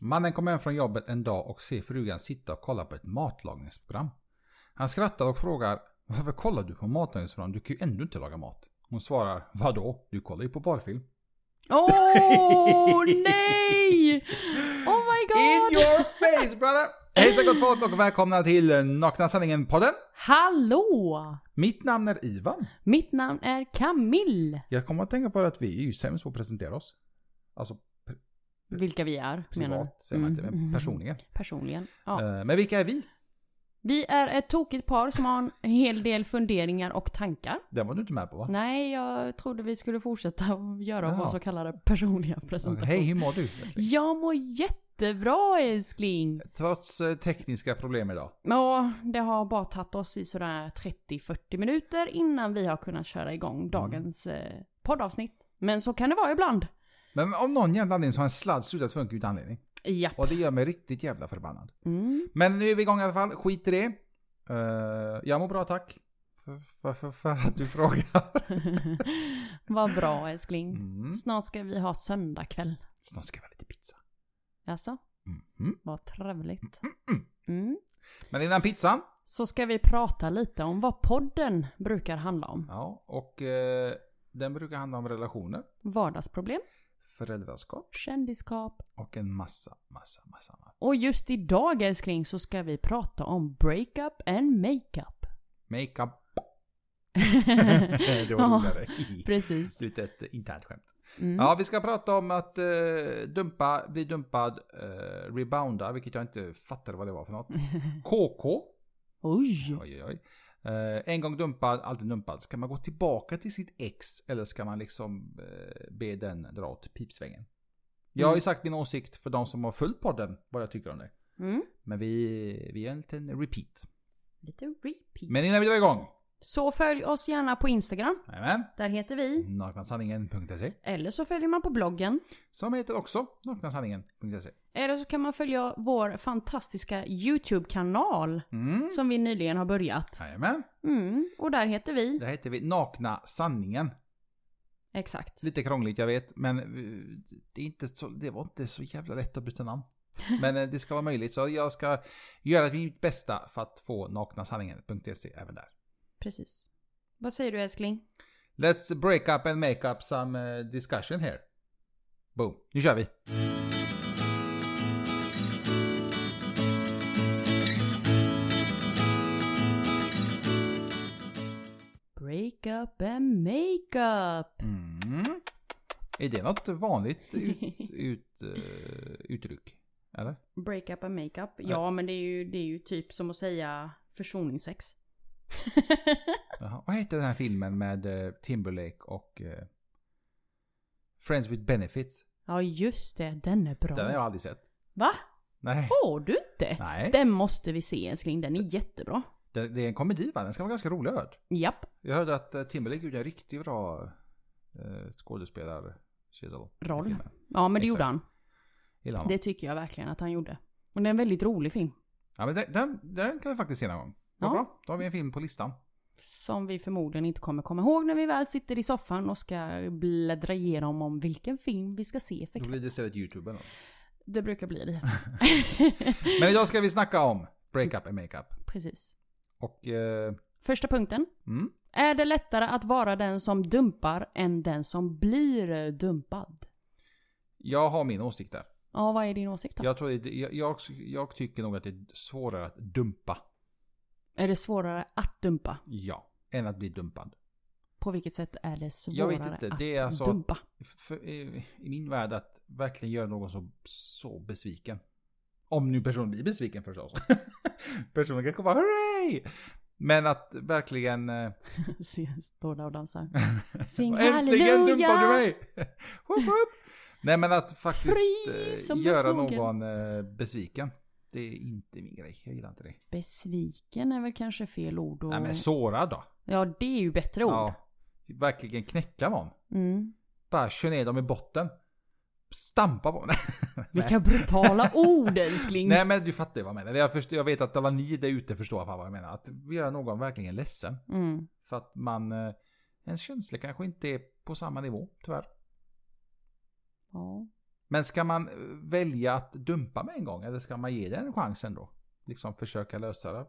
Mannen kom hem från jobbet en dag och ser frugan sitta och kolla på ett matlagningsprogram. Han skrattar och frågar Varför kollar du på matlagningsprogram? Du kan ju ändå inte laga mat. Hon svarar Vadå? Du kollar ju på porrfilm. Åh nej! Oh my In god! your face brother! Hejsan gott folk och välkomna till Nakna Sanningen-podden. Hallå! Mitt namn är Ivan. Mitt namn är Camille. Jag kommer att tänka på att vi är ju sämst på att presentera oss. Alltså Vilka vi är, menar du? privat säger man inte, Mm. men personligen. Personligen. Ja. Eh, Men vilka är vi? Vi är ett tokigt par som har en hel del funderingar och tankar. Den var du inte med på va? Nej, jag trodde vi skulle fortsätta att göra Ja. våra så kallade personliga Okej, presentationer. Hej, hur mår du? Leslie? Jag mår jättebra älskling. Trots eh, tekniska problem idag. Ja, det har bara tagit oss i sådär 30-40 minuter innan vi har kunnat köra Mm. igång dagens eh, poddavsnitt. Men så kan det vara ibland. Men om någon jävla anledning så har en sladd slutat funka utan anledning. Ja. Och det gör mig riktigt jävla förbannad. Mm. Men nu är vi igång i alla fall, skit i det. Eh, jag mår bra tack. För, för, för, för att du frågar. Vad bra älskling. Mm. Snart ska vi ha söndagkväll. Snart ska vi ha lite pizza. Alltså, Mhm. vad trevligt. Mm. Men innan pizzan. Så ska vi prata lite om vad podden brukar handla om. Ja, och eh, den brukar handla om relationer, Vardagsproblem, föräldraskap kändiskap och en massa, massa, massa annat. och just idag älskling så ska vi prata om breakup and makeup. Makeup. det Ja, var roligare. Precis. Lite ett internt skämt. Mm. Ja, vi ska prata om att eh, dumpa, bli dumpad, eh, rebounda, vilket jag inte fattade vad det var för något. KK. Oj! Oj, oj, oj. Eh, en gång dumpad, alltid dumpad. Ska man gå tillbaka till sitt ex eller ska man liksom eh, be den dra åt pipsvängen? Jag har ju Mm. sagt min åsikt för de som har följt podden, vad jag tycker om det. Mm. Men vi, vi gör en liten repeat. Lite repeat. Men innan vi drar igång. Så följ oss gärna på Instagram. Jajamän. Där heter Mm. vi. Naknasanningen.se. Eller så följer man på bloggen. E, Som heter också naknasanningen.se. Eller så kan man följa vår fantastiska YouTube-kanal. Mm. Som vi nyligen har börjat. Jajamän. Mm. Och där heter vi. Där heter vi Nakna Sanningen. Exakt. Lite krångligt jag vet, men eh, det, är inte så, det var inte så jävla lätt att byta namn. Men eh, det ska vara möjligt, så jag ska göra mitt bästa för att få naknasanningen.se även där. Precis. Vad säger du älskling? Let's break up and make up some eh, discussion here. Boom, nu kör vi! Breakup and makeup. Mm. Är det något vanligt ut, ut, eh, uttryck? Eller? Breakup and makeup. Ja, men det är ju, det är ju typ som att säga försoningssex. Jaha. Vad heter den här filmen med eh, Timberlake och eh, Friends with Benefits? ja, just det. Den är bra. Den har jag aldrig sett. Va? Nej. Har du inte? Nej. Den måste vi se älskling. Den är jättebra. Det, det är en komedi va? Den ska vara ganska rolig jag hört. Japp. Jag hörde att eh, Timberlake gjorde en riktigt bra eh, skådespelare Chisel. Roll. Ja, men det gjorde han. Gillar Det det... tycker jag verkligen att han gjorde. Och det är en väldigt rolig film. Ja men den, den, den kan vi faktiskt se någon gång. Vad Ja. bra. Då har vi en film på listan. Som vi förmodligen inte kommer komma ihåg när vi väl sitter i soffan och ska bläddra igenom om vilken film vi ska se. För Då blir det istället YouTube eller något. Det brukar bli det. Men idag ska vi snacka om breakup and makeup. Precis. Och eh, Första punkten. mm, Är det lättare att vara den som dumpar än den som blir dumpad? jag har min åsikt där. Ja, vad är din åsikt då? Jag, tror det, jag, jag, jag tycker nog att det är svårare att dumpa. Är det svårare att dumpa? Ja. Än att bli dumpad. På vilket sätt är det svårare Jag vet inte, det är att alltså- dumpa? för, i, i min värld att verkligen göra någon så, så besviken. Om nu personen blir besviken förstås. personen kanske bara hurray! Men att verkligen... eh, Se, Står där och dansar. Sing Äntligen dumpade du halleluja! mig! Whoop, whoop. Nej men att faktiskt Fri eh, som en göra fågel. någon eh, besviken. Det är inte min grej, jag gillar inte det. Besviken är väl kanske fel ord. Och... Nej men sårad då. Ja, det är ju bättre ord. Ja, verkligen knäcka någon. Mm. Bara kör ner dem i botten. Stampa på dem. Vilka brutala ord älskling. Nej men du fattar ju vad jag menar. Jag, förstår, jag vet att alla ni där ute förstår fan vad jag menar. Att göra någon verkligen ledsen. Mm. För att man... eh, Ens känslor kanske inte är på samma nivå, tyvärr. Ja. Men ska man eh, välja att dumpa med en gång eller ska man ge den en chans ändå? Liksom försöka lösa det.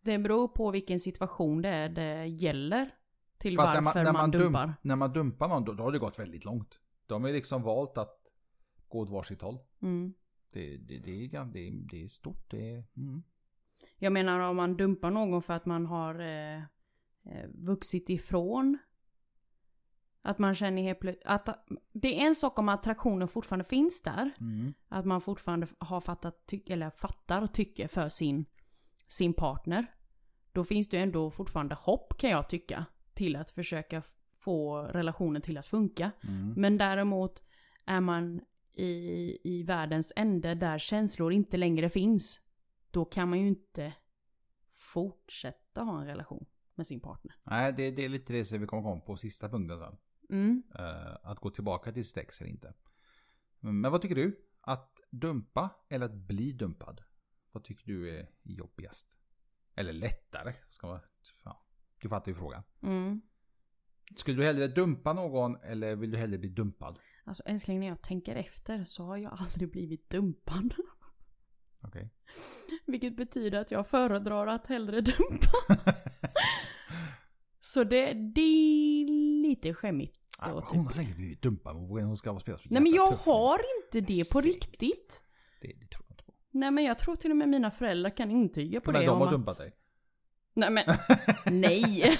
Det beror på vilken situation det är det gäller till För att varför man, dump- dumpar. när man dumpar någon då, då har det gått väldigt långt. De har ju liksom valt att gå åt varsitt håll. Mm. Det, det, det, är, gan- det, är- det är stort. Det är, mm. Jag menar om man dumpar någon för att man har eh, eh, vuxit ifrån. Att man känner helt plötsligt att det är en sak om attraktionen fortfarande finns där. Mm. Att man fortfarande har fattat, ty- eller fattar och tycker för sin, sin partner. Då finns det ju ändå fortfarande hopp kan jag tycka. Till att försöka f- få relationen till att funka. Mm. Men däremot är man i, i världens ände där känslor inte längre finns. Då kan man ju inte fortsätta ha en relation med sin partner. Nej, det, det är lite det som vi kommer komma på sista punkten sen. Mm. Eh, att gå tillbaka till sex eller inte. Men vad tycker du? Att dumpa eller att bli dumpad? Vad tycker du är jobbigast? Eller lättare? Ska man, ja, du fattar ju frågan. Mm. Skulle du hellre dumpa någon eller vill du hellre bli dumpad? Alltså älskling när jag tänker efter så har jag aldrig blivit dumpad. Okej. Vilket betyder att jag föredrar att hellre dumpa. Så det, det är lite skämmigt. Ah, Då typ. hon har säkert blivit dumpad. men Hon ska vara spela så Nej men jävla jag tuff. har inte det på Säkert. riktigt. Det, det tror jag inte på. Nej men jag tror till och med mina föräldrar kan intyga på Men det. de om har att- dumpat dig. Nej men, nej.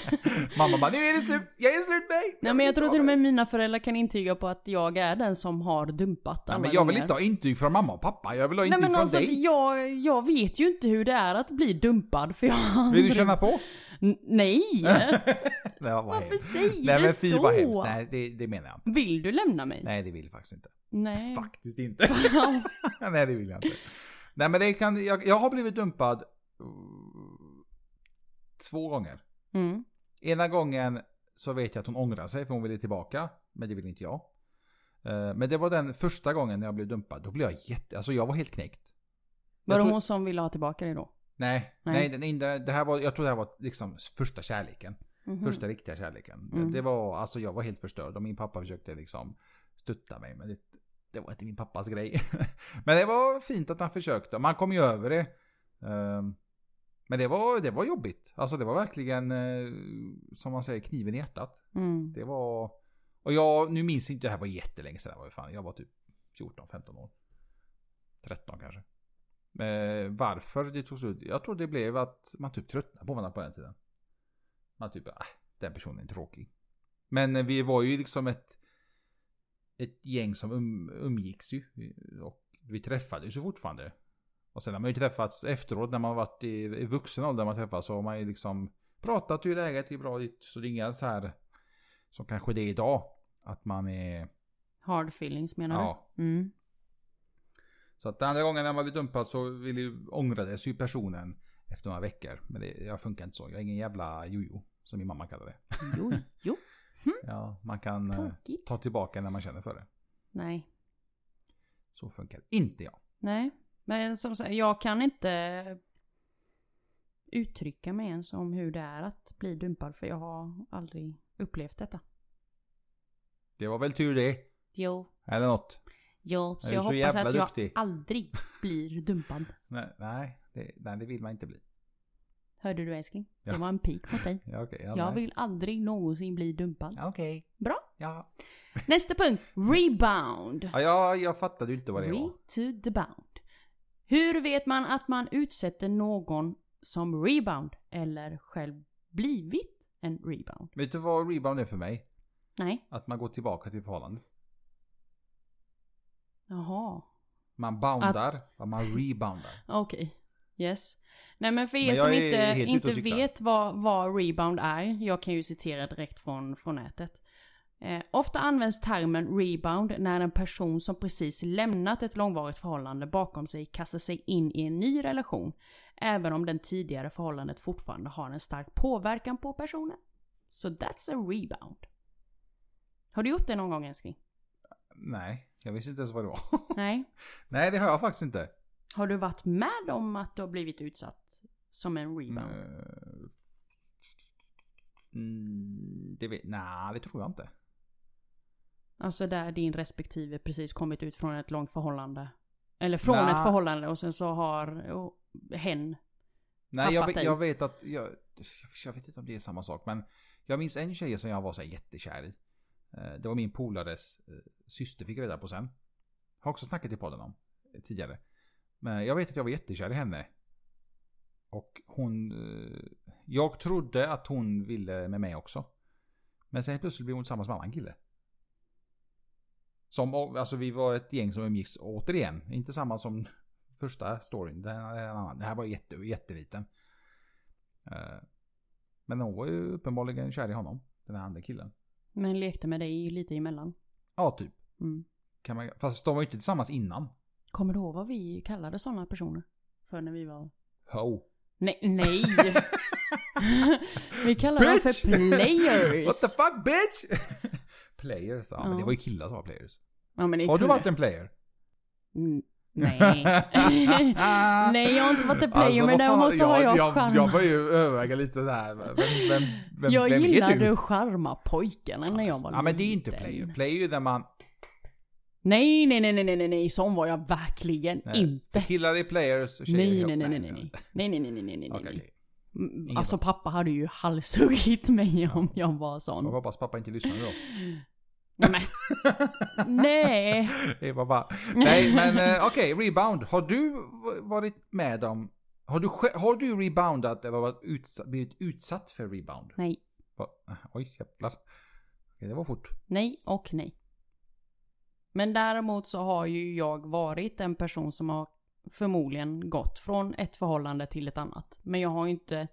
Mamma bara, nu är det slut. Jag är slut med dig. Nej men jag tror till och med mina föräldrar kan intyga på att jag är den som har dumpat alla Nej, men jag vill gånger. inte ha intyg från mamma och pappa. Jag vill ha Nej intyg men från alltså dig. jag, jag vet ju inte hur det är att bli dumpad för jag har Vill du aldrig- känna på? N- Nej! Nej, vad Varför hemskt. säger Nej du men fy så? vad hemskt. Nej det, det menar jag inte. Vill du lämna mig? Nej det vill jag faktiskt inte. Nej. Faktiskt inte. Nej det vill jag inte. Nej men det kan, jag, jag har blivit dumpad mm, två gånger. Mm. Ena gången så vet jag att hon ångrar sig för hon ville tillbaka. Men det vill inte jag. Eh, Men det var den första gången när jag blev dumpad. Då blev jag jätte... Alltså jag var helt knäckt. Var det Jag tror- hon som ville ha tillbaka dig då? Nej, Nej. nej. det- det, det här var, jag tror det här var liksom första kärleken. Mhm. Första riktiga kärleken. Mm. Det var, alltså jag var helt förstörd och min pappa försökte liksom stötta mig. Men det, det var inte min pappas grej. men det var fint att han försökte. Man kom ju över det. Ehm, Men det var, det var jobbigt. Alltså det var verkligen, eh, som man säger, kniven i hjärtat. Mm. Det var... Och jag, nu minns inte, det här var jättelänge sedan. det Var ju fan, jag var typ 14-15 år. 13 kanske. Eh, varför det tog slut? Jag tror det blev att man typ tröttnade på varandra på den tiden. Man typ, äh, den personen är tråkig. Men eh, vi var ju liksom ett, ett gäng som um, umgicks ju. Och vi träffades ju fortfarande. Och sen har man ju träffats efteråt när man har varit i, i vuxen ålder man träffas så har man ju liksom pratat hur läget är bra dit. Så det är inga så här som kanske det är idag. Att man är... Hard feelings menar du? Ja. Mm. Så att den andra gången när man blev dumpad så ville ju, ångrades ju personen efter några veckor. Men det, jag funkar inte så. Jag är ingen jävla jojo. Som min mamma kallar det. Jo, jo. Ja, man kan eh, Tråkigt. ta tillbaka när man känner för det. Nej. Så funkar inte jag. Nej. Men som sagt, jag kan inte uttrycka mig ens om hur det är att bli dumpad för jag har aldrig upplevt detta. Det var väl tur det. Jo, Eller något. jo. Så du jag så hoppas jävla att jag duktig? aldrig blir dumpad. Nej, nej, det, nej, det vill man inte bli. Hörde du älskling? Ja. Det var en pik mot dig. Ja, okej. ja, Jag nej. vill aldrig någonsin bli dumpad. Ja, Okej. Bra. Ja. Nästa punkt. Rebound. Ja, jag, jag fattade ju inte vad det Re var. to the bound. Hur vet man att man utsätter någon som rebound eller själv blivit en rebound? Vet du vad rebound är för mig? Nej. Att man går tillbaka till förhållandet. Jaha. Man boundar, och man reboundar. Okej. Yes. Nej men för er Men jag som är helt inte, ute inte och cyklar. vet vad, vad rebound är. Jag kan ju citera direkt från, från nätet. Eh, ofta används termen rebound när en person som precis lämnat ett långvarigt förhållande bakom sig kastar sig in i en ny relation. Även om den tidigare förhållandet fortfarande har en stark påverkan på personen. Så that's a rebound. Har du gjort det någon gång älskling? Nej, jag visste inte ens vad det var. Nej. Nej, det har jag faktiskt inte. Har du varit med om att du har blivit utsatt som en rebound? Eh, Mm, det vet, nej, det tror jag inte. Alltså där din respektive precis kommit ut från ett långt förhållande. Eller från Nä. ett förhållande och sen så har och, hen. Nej, jag, fattar vet- ju. jag vet att... Jag, jag vet inte om det är samma sak, men jag minns en tjej som jag var så här jättekär i. Eh, Det var min polares eh, syster fick reda på sen. Har också snackat i podden om eh, tidigare. Men jag vet att jag var jättekär i henne. Och hon... eh, Jag trodde att hon ville med mig också. Men sen plötsligt blev hon tillsammans med en annan kille. Som, alltså vi var ett gäng som umgicks återigen. Inte samma som första storyn. Den, är en annan. den här var jätte, jätteliten. Eh, Men hon var ju uppenbarligen kär i honom. Den här andra killen. Men lekte med dig lite emellan. Ja, typ. Mm. Kan man, fast de var ju inte tillsammans innan. Kommer du ihåg vad vi kallade sådana personer? För när vi var... Ho. Nej! nej. vi kallade dem Bitch! för players. What the fuck bitch! players, ja, men Ja. det var ju killar som var players. ja, men det är Har du kul. varit en player? Mm, Nej. Nej, jag har inte varit en player, men Alltså, vad däremot så har jag jag, charm. jag börjar ju överväga lite där. Vem, vem, vem, jag vem är gillade att charma pojkarna när jag var Ja men det är ju inte liten. player. Player är ju där man... Nej, nej, nej, nej, nej, nej, nej, sån var jag verkligen Nej, inte. Killar är players och tjejer är Nej, helt- nej, nej, nej, nej, nej, nej, nej, nej, nej, nej, nej, Okej, nej. okej. Mm, Ingen Alltså pappa hade ju halshuggit mig om jag var Jag sån. hoppas pappa inte lyssnar då. Nej, nej. Det var bara... Nej men eh, okej, rebound. Har du varit med om... Har du, sj- har du reboundat eller varit utsatt, blivit utsatt för rebound? nej, Va? Oj jävlar. Okej, det var fort. nej och nej. Men däremot så har ju jag varit en person som har förmodligen gått från ett förhållande till ett annat. Men jag har ju inte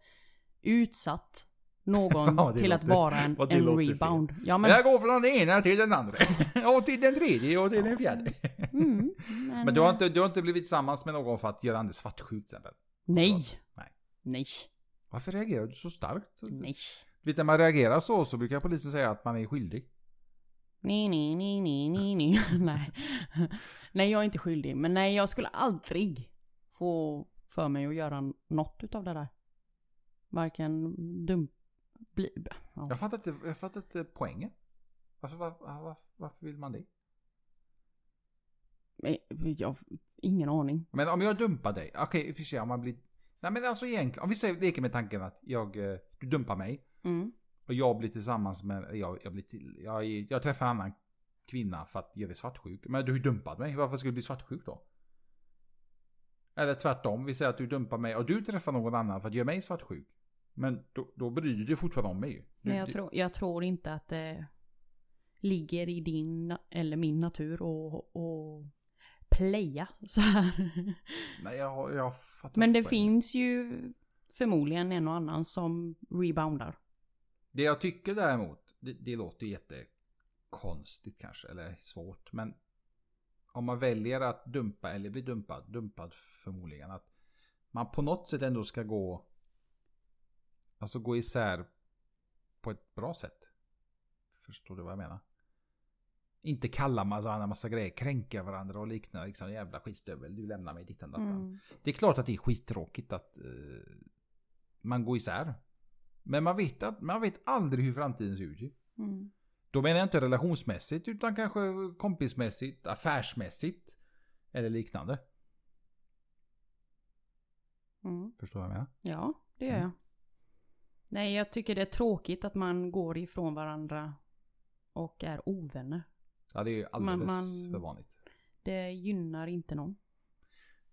utsatt någon Ja, det till att låter- vara en, vad det en låter fel. rebound. Ja, Men... men, Jag går från den ena till den andra. Och till den tredje och till den fjärde. mm, Men du har, inte, du har inte blivit tillsammans med någon för att göra andra svartsjuk till exempel? Nej. Nej. Nej. Varför reagerar du så starkt? Nej. Vet när man reagerar så så brukar polisen säga att man är skyldig. Nej, nej, nej, nej, nej, nej. nej. Nej, jag är inte skyldig. Men nej, jag skulle aldrig få för mig att göra något utav det där. Varken dum... Bli, ja. Jag fattar inte, jag fattar inte poängen. Varför, var, var, varför vill man det? Men jag ingen aning. Men om jag dumpar dig, okej i och för sig om man blir... Nej men alltså egentligen, om vi säger, leker med tanken att jag, eh, du dumpar mig Mm. och jag blir tillsammans med, jag, jag blir till, jag, jag träffar en annan kvinna för att jag är svartsjuk. Men du har ju dumpat mig, varför skulle du bli svartsjuk då? Eller tvärtom, vi säger att du dumpar mig och du träffar någon annan för att göra mig svartsjuk. Men då, då bryr du dig fortfarande om mig ju. Du- Men jag, du- tror, jag tror inte att det ligger i din eller min natur och, och playa så här. Nej, jag, jag fattar Men inte det poängen. finns ju förmodligen en och annan som reboundar. Det jag tycker däremot, det, det låter ju jättekonstigt kanske, eller svårt, men om man väljer att dumpa eller bli dumpad, dumpad förmodligen, att man på något sätt ändå ska gå alltså gå isär på ett bra sätt. Förstår du vad jag menar? Inte kalla massa, andra massa grejer, kränka varandra och liknande. Liksom, jävla skitstövel, du lämnar mig dittan Mm. dattan. Det är klart att det är skittråkigt att eh, man går isär. Men man vet, att, man vet aldrig hur framtiden ser ut. ju. Mm. Då menar jag inte relationsmässigt utan kanske kompismässigt, affärsmässigt eller liknande. Mm. Förstår du vad jag menar? Ja, det gör Mm. jag. Nej, jag tycker det är tråkigt att man går ifrån varandra och är ovänner. Ja, det är ju alldeles Man- man- för vanligt. Det gynnar inte någon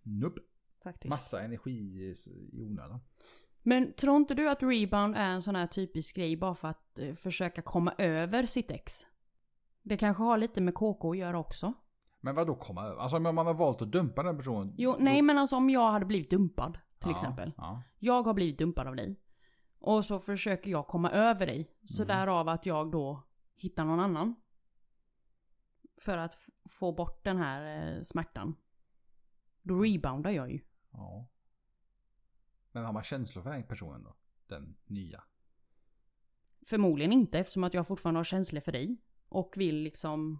Nope. faktiskt. Massa energi i onödan. Men tror inte du att rebound är en sån här typisk grej bara för att eh, försöka komma över sitt ex? Det kanske har lite med KK att göra också. Men vad då komma över? Alltså om man har valt att dumpa den personen. Jo, då- nej men alltså om jag hade blivit dumpad till Ja, exempel. Ja. Jag har blivit dumpad av dig. Och så försöker jag komma över dig. Så Mm. därav att jag då hittar någon annan. För att f- få bort den här eh, smärtan. Mm. Då reboundar jag ju. ja. Men har man känslor för den personen då? Den nya? Förmodligen inte eftersom att jag fortfarande har känslor för dig. Och vill liksom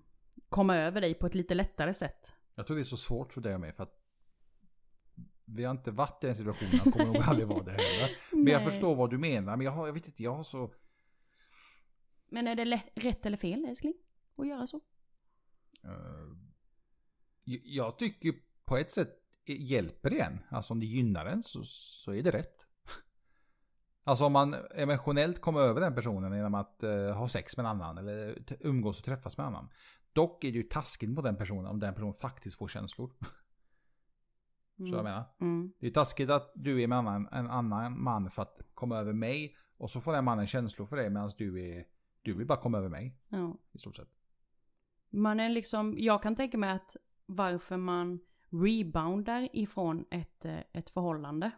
komma över dig på ett lite lättare sätt. Jag tror det är så svårt för dig och mig för att vi har inte varit i den situationen och kommer nog aldrig vara det heller. Men jag Nej. förstår vad du menar. Men jag, har, jag vet inte, jag har så... Men är det lä- rätt eller fel älskling? Att göra så? Eh, j- jag tycker på ett sätt hjälper det en. Alltså om det gynnar en så, så är det rätt. Alltså om man emotionellt kommer över den personen genom att eh, ha sex med en annan eller t- umgås och träffas med en annan. Dock är det ju taskigt mot den personen om den personen faktiskt får känslor. Så jag menar. Mm. Det är taskigt att du är med en annan, en annan man för att komma över mig och så får den mannen känslor för dig medan du är... Du vill bara komma över mig Ja. i stort sett. Man är liksom, jag kan tänka mig att varför man reboundar ifrån ett, eh, ett förhållande.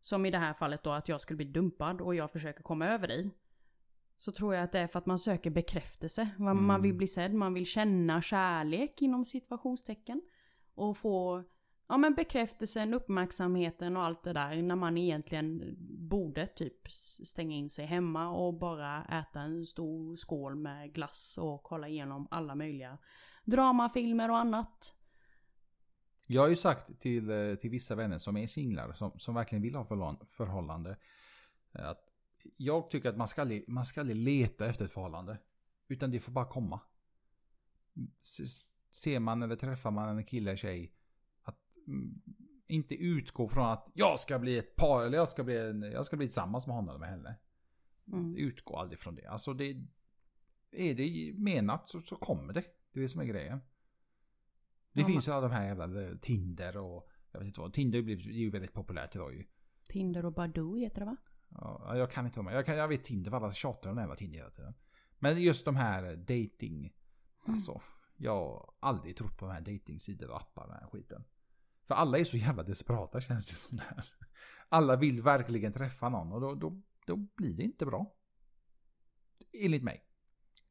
Som i det här fallet då att jag skulle bli dumpad och jag försöker komma över dig. Så tror jag att det är för att man söker bekräftelse. Man, man Mm. vill bli sedd, man vill känna kärlek inom situationstecken. Och få ja, men bekräftelsen, uppmärksamheten och allt det där. När man egentligen borde typ s- stänga in sig hemma och bara äta en stor skål med glass och kolla igenom alla möjliga dramafilmer och annat. Jag har ju sagt till, eh, till vissa vänner som är singlar, som, som verkligen vill ha förla- förhållande. eh, Att jag tycker att man ska, aldrig, man ska aldrig leta efter ett förhållande. Utan det får bara komma. S- Ser man eller träffar man en kille eller tjej. Att mm, inte utgå från att jag ska bli ett par eller jag ska bli, en, jag ska bli tillsammans med honom eller med henne. Mm. Utgå aldrig från det. Alltså det... Är det menat så, så kommer det. Det är det som är grejen. Det Ja, finns ju alla de här jävla eh, Tinder och... Jag vet inte vad. Tinder blir är ju väldigt populärt idag ju. Tinder och Badoo heter det va? Ja, jag kan inte de här. Jag, kan, jag vet Tinder för alla tjatar om den jävla Tinder hela tiden. Men just de här dating... Alltså. Jag har aldrig trott på de här datingsidor och appar och den här skiten. För alla är så jävla desperata känns det som det här. Alla vill verkligen träffa någon och då, då, då blir det inte bra. Enligt mig.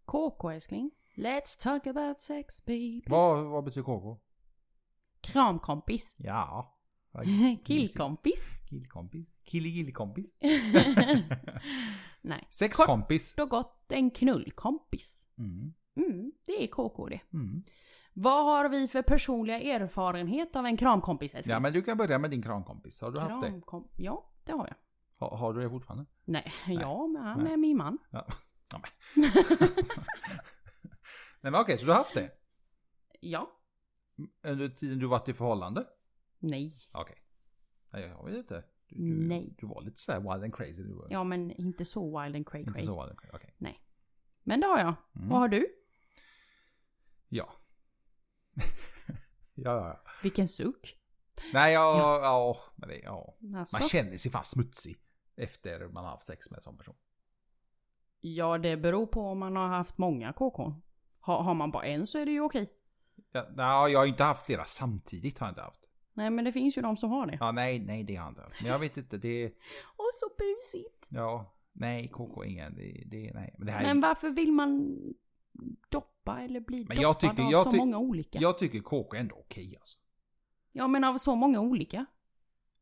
KK älskling. Let's talk about sex baby. Vad, vad betyder KK? Kramkompis. Ja. Killkompis. Killkompis. Killigillkompis. Nej. Kort Sexkompis. och gott en knullkompis. Mm. Mm, det är KK det. Mm. Vad har vi för personliga erfarenhet av en kramkompis älskling? Ja men du kan börja med din kramkompis. Har du haft det? Kramkom- Ja, det har jag. Har, har du det fortfarande? Nej, ja, men han Nej. är min man. Nej men okej, så du har haft det? Ja. Under tiden du varit i förhållande? Nej. Okej. Nej jag vet inte. Du, du, Nej. du var lite sådär wild and crazy du var. Ja, men inte så wild and cray inte cray. så wild and crazy. Okej. Men det har jag. Mm. Vad har du? Ja. ja, ja, ja. Vilken suck. Nej jag, ja. men det, ja. Alltså. Man känner sig fan smutsig. Efter man har haft sex med en sån person. Ja, det beror på om man har haft många KK. Har, har man bara en så är det ju okej. Ja, nej, jag har ju inte haft flera samtidigt har jag inte haft. Nej, men det finns ju de som har det. Ja, nej, nej det har jag inte haft. Men jag vet inte, det är... Och så busigt. Ja, nej KK ingen. Det, det nej. Men, det här, Men varför vill man doppa eller bli Men doppad jag tycker- av jag så tyck- många olika? jag tycker KK är ändå okej alltså. Ja, men av så många olika.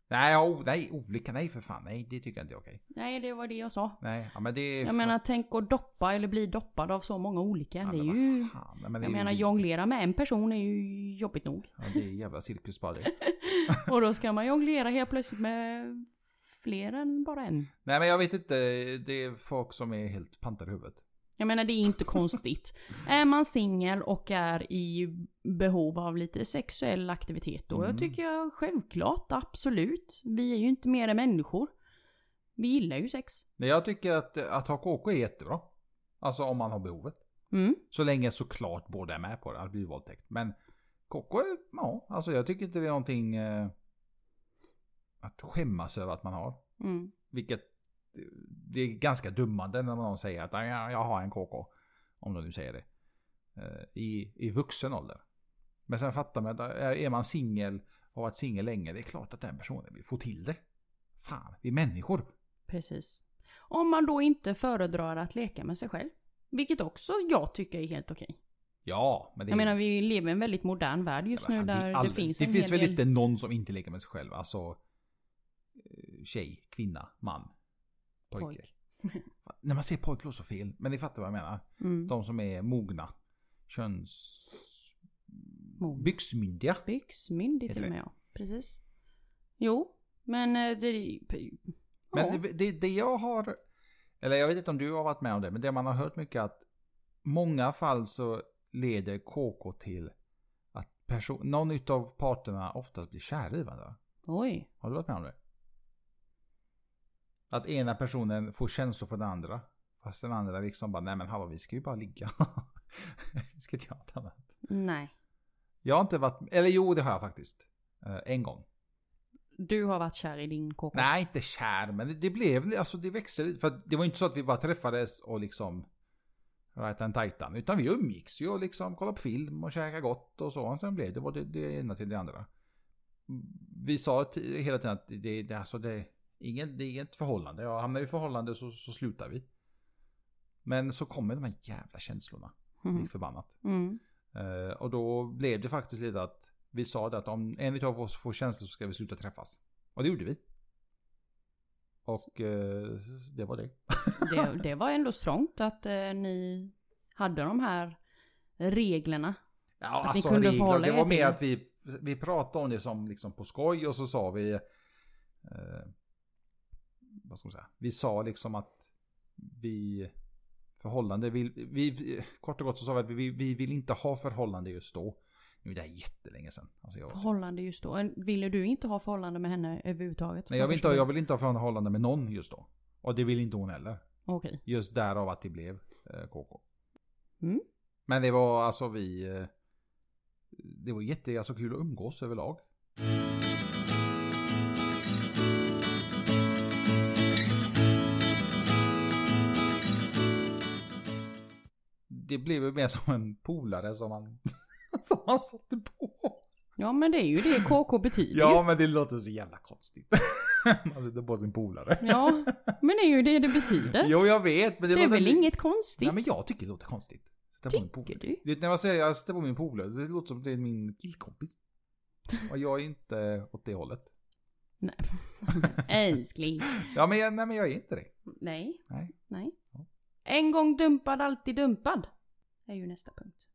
Nej, ja, o- nej, olika, nej för fan, nej det tycker jag inte är okej. Nej, det var det jag sa. Nej, ja, men det är... Jag menar, tänk att doppa eller bli doppad av så många olika. ja, det är men vad ju... Fan, nej, men det Jag är ju- menar, jonglera med en person är ju jobbigt nog. Ja, det är jävla cirkus bara det. Och då ska man jonglera helt plötsligt med fler än bara en. Nej men jag vet inte, det är folk som är helt pantade i huvudet. Jag menar det är inte konstigt. är man singel och är i behov av lite sexuell aktivitet då Mm. jag tycker jag självklart, absolut. Vi är ju inte mer än människor. Vi gillar ju sex. Men jag tycker att, att ha KK är jättebra. Alltså om man har behovet. Mm. Så länge såklart båda är med på det, det blir våldtäkt. Men KK, är- ja, alltså jag tycker inte det är någonting eh, att skämmas över att man har. Mm. Vilket, eh, det är ganska dummande när någon säger att "Ja, jag, jag har en KK. Om de nu säger det. eh, I, i vuxen ålder. Men sen fattar man att eh, är man singel och har varit singel länge, det är klart att den personen vill få till det. Fan, vi är människor. Precis. Om man då inte föredrar att leka med sig själv. Vilket också jag tycker är helt okej. Ja, men det Jag menar vi lever i en väldigt modern värld just nu Men fan, där det, aldrig- finns Det en finns hel väl del... inte någon som inte leker med sig själv. Alltså eh, tjej, kvinna, man, pojke. Pojk. När man ser pojk låter så fel. Men ni fattar vad jag menar. Mm. De som är mogna. Köns... Mogna. Byxmyndiga. Byxmyndig till Heter och det. med ja. Precis. Jo, men eh, det... ja. Men det, det, det jag har... Eller jag vet inte om du har varit med om det. Men det man har hört mycket är att många fall så leder KK till att perso- någon utav parterna oftast blir kär i varandra. Oj. Har du varit med om det? Att ena personen får känslor för den andra. Fast den andra liksom bara, nej men hallå vi ska ju bara ligga. vi ska inte göra något annat. Nej. Jag har inte varit, eller jo det har jag faktiskt. Eh, en gång. Du har varit kär i din KK? Nej, inte kär, men det, det blev, alltså det växte lite. För att det var inte så att vi bara träffades och liksom right and titan. Utan vi umgicks ju och liksom kollade på film och käkade gott och så. Och sen blev det var det, det ena till det andra. Vi sa t- hela tiden att det, det, alltså det, ingen, det är inget förhållande. Ja, hamnar vi i förhållande så, så slutar vi. Men så kommer de här jävla känslorna. Mhm. Lik förbannat. Mm. Eh, och då blev det faktiskt lite att vi sa det att om en utav oss får känslor så ska vi sluta träffas. Och det gjorde vi. Och eh, det var det. Det, det var ändå strångt att eh, ni hade de här reglerna. Ja, ni kunde regler, förhålla Det er var mer till det. att vi, vi pratade om det som liksom på skoj och så sa vi... Eh, vad ska man säga? Vi sa liksom att vi... Förhållande vill... Vi, kort och gott så sa vi att vi, vi vill inte ha förhållande just då. Nu är det här jättelänge sedan. Alltså jag, Förhållande just då. En- Ville du inte ha förhållande med henne överhuvudtaget? Nej, jag vill, inte, förstår. jag vill inte ha förhållande med någon just då. Och det vill inte hon heller. Okej. Just därav att det blev eh, KK. Mm. Men det var alltså vi... Eh, det var jätte, alltså, kul att umgås överlag. Det blev ju mer som en polare som man, som man satte på. Ja men det är ju det KK betyder Ja, ja. men det låter så jävla konstigt. Man sitter på sin polare. ja. Men det är ju det det betyder. Jo, jag vet, men det, det är låter... väl li- inget konstigt? Nej, men jag tycker det låter konstigt. Sätta på min polare. Tycker du? Du vet, när jag säger jag sätter på min polare, det låter som att det är min killkompis. Och jag är inte åt det hållet. Nej. Älskling. Ja, men jag, nej, men jag är inte det. Nej. Nej. Nej. Ja. En gång dumpad, alltid dumpad. Är ju nästa punkt.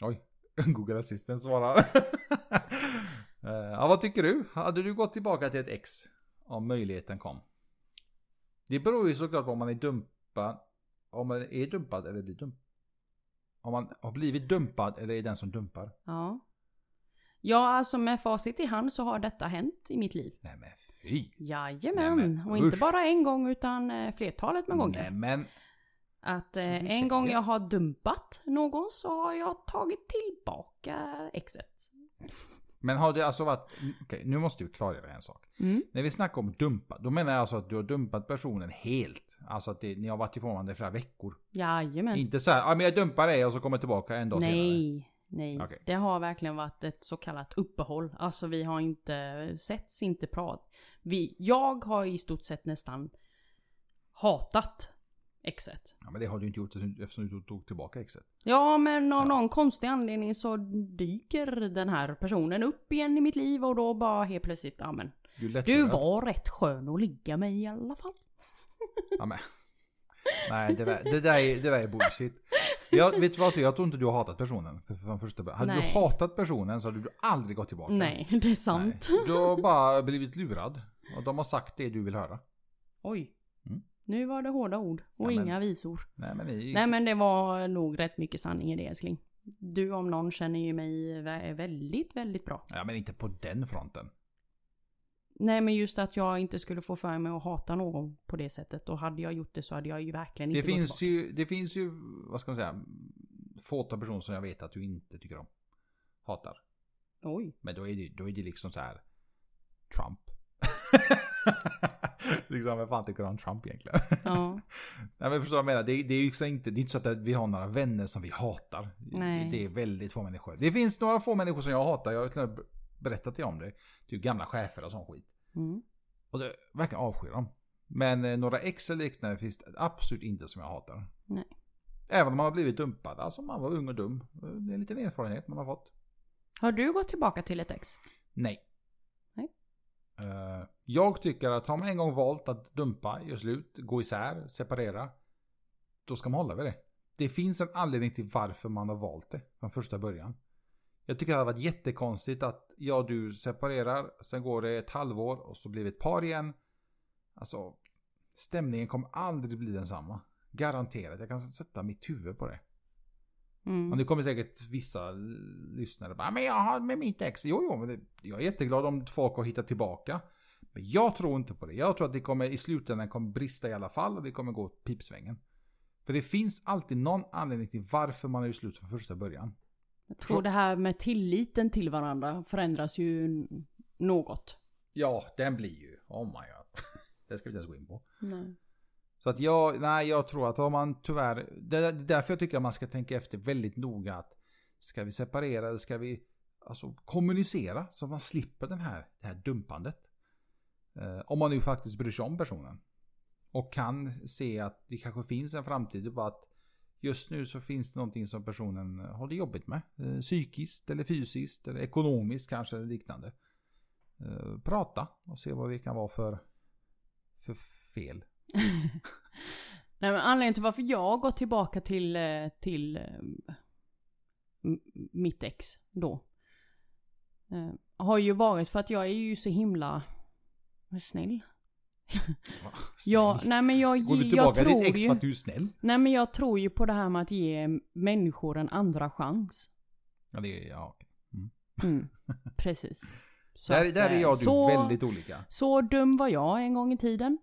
Oj, Google Assistant svarar. Eh, ja, vad tycker du? Hade du gått tillbaka till ett ex om möjligheten kom? Det beror ju såklart på om man är dumpad, om man är dumpad eller blir dumpad. Om man har blivit dumpad eller är den som dumpar. Ja. Ja, alltså med facit i hand så har detta hänt i mitt liv. Nej men fy! Jajamän. Nej, men och inte usch. bara en gång utan eh, flertalet med gånger. Nej men Att Som du eh, säger. en gång jag har dumpat någon så har jag tagit tillbaka exet. Men har det alltså varit... Okej, nu måste vi klargöra en sak. Mm. När vi snackar om dumpa, då menar jag alltså att du har dumpat personen helt. Alltså att det, ni har varit ifrån varandra i flera veckor. Jajamän. Inte så här, ja ah, men jag dumpar dig och så kommer jag tillbaka en dag senare. nej, nej. Okej. Det har verkligen varit ett så kallat uppehåll. Alltså vi har inte setts, inte prat. Vi, jag har i stort sett nästan hatat exet. Ja, men det har du inte gjort eftersom du tog tillbaka exet. Ja men av Ja. någon konstig anledning så dyker den här personen upp igen i mitt liv och då bara helt plötsligt, ja men. Du, är lättlurad. Du var rätt skön att ligga med i alla fall. Ja, men. Nej, det där, det, där är, det där är bullshit. Jag, vet du vad, jag tror inte du har hatat personen. För, för första, början. hade Nej. du hatat personen så hade du aldrig gått tillbaka. Nej, det är sant. Nej. Du har bara blivit lurad. Och de har sagt det du vill höra. Oj. Mm. Nu var det hårda ord och Ja, men- inga visor. Nej men, ni, Nej men det var nog rätt mycket sanning i det älskling. Du om någon känner ju mig vä- väldigt, väldigt bra. Ja, men inte på den fronten. Nej men just att jag inte skulle få för mig att hata någon på det sättet. Och hade jag gjort det så hade jag ju verkligen Det inte gått finns, tillbaka. ju, det finns ju, vad ska man säga, fåtal personer som jag vet att du inte tycker om. Hatar. Oj. Men då är det, då är det liksom så här Trump. liksom, vem fan tycker om Trump egentligen? Ja. Nej men förstår vad jag menar, det, det är ju liksom inte, det är inte så att vi har några vänner som vi hatar. Nej. Det är väldigt få människor. Det finns några få människor som jag hatar, jag har till och med berättat det om det. Typ gamla chefer och sån skit. Mm. Och det, verkligen avskyr dem. Men eh, några ex eller liknande finns det absolut inte som jag hatar. Nej. Även om man har blivit dumpad. Alltså man var ung och dum. Det är en liten erfarenhet man har fått. Har du gått tillbaka till ett ex? Nej. Nej. Eh, jag tycker att har man en gång valt att dumpa, göra slut, gå isär, separera. Då ska man hålla vid det. Det finns en anledning till varför man har valt det från första början. Jag tycker det hade varit jättekonstigt att jag och du separerar, sen går det ett halvår och så blir vi ett par igen. Alltså, stämningen kommer aldrig bli densamma. Garanterat, jag kan sätta mitt huvud på det. Mm. Men det kommer säkert vissa lyssnare bara, men jag har med mitt ex. Jo, jo, men det, jag är jätteglad om folk har hittat tillbaka. Men jag tror inte på det. Jag tror att det kommer i slutändan kommer brista i alla fall och det kommer gå åt pipsvängen. För det finns alltid någon anledning till varför man är ju slut från första början. Jag tror det här med tilliten till varandra förändras ju n- något. Ja, den blir ju, oh my god. det ska vi inte ens gå in på. Nej. Så att jag, nej jag tror att om man tyvärr, det är därför jag tycker att man ska tänka efter väldigt noga att ska vi separera eller ska vi alltså, kommunicera så man slipper den här, det här dumpandet. Eh, om man nu faktiskt bryr sig om personen. Och kan se att det kanske finns en framtid och bara att just nu så finns det någonting som personen har det jobbigt med. Eh, psykiskt eller fysiskt eller ekonomiskt kanske eller liknande. Eh, prata och se vad det kan vara för, för fel. Nej, men anledningen till varför jag går tillbaka till, eh, till eh, m- mitt ex då. eh, Har ju varit för att jag är ju så himla snäll. Va? Jag, Snäll. nej men jag, Går du jag tillbaka till tror ditt ex för ju, att du är snäll? Nej men jag tror ju på det här med att ge människor en andra chans. Ja, det är, ja. Mm, precis. Så Där, att, där är eh, jag och du så- väldigt olika. Så dum var jag en gång i tiden.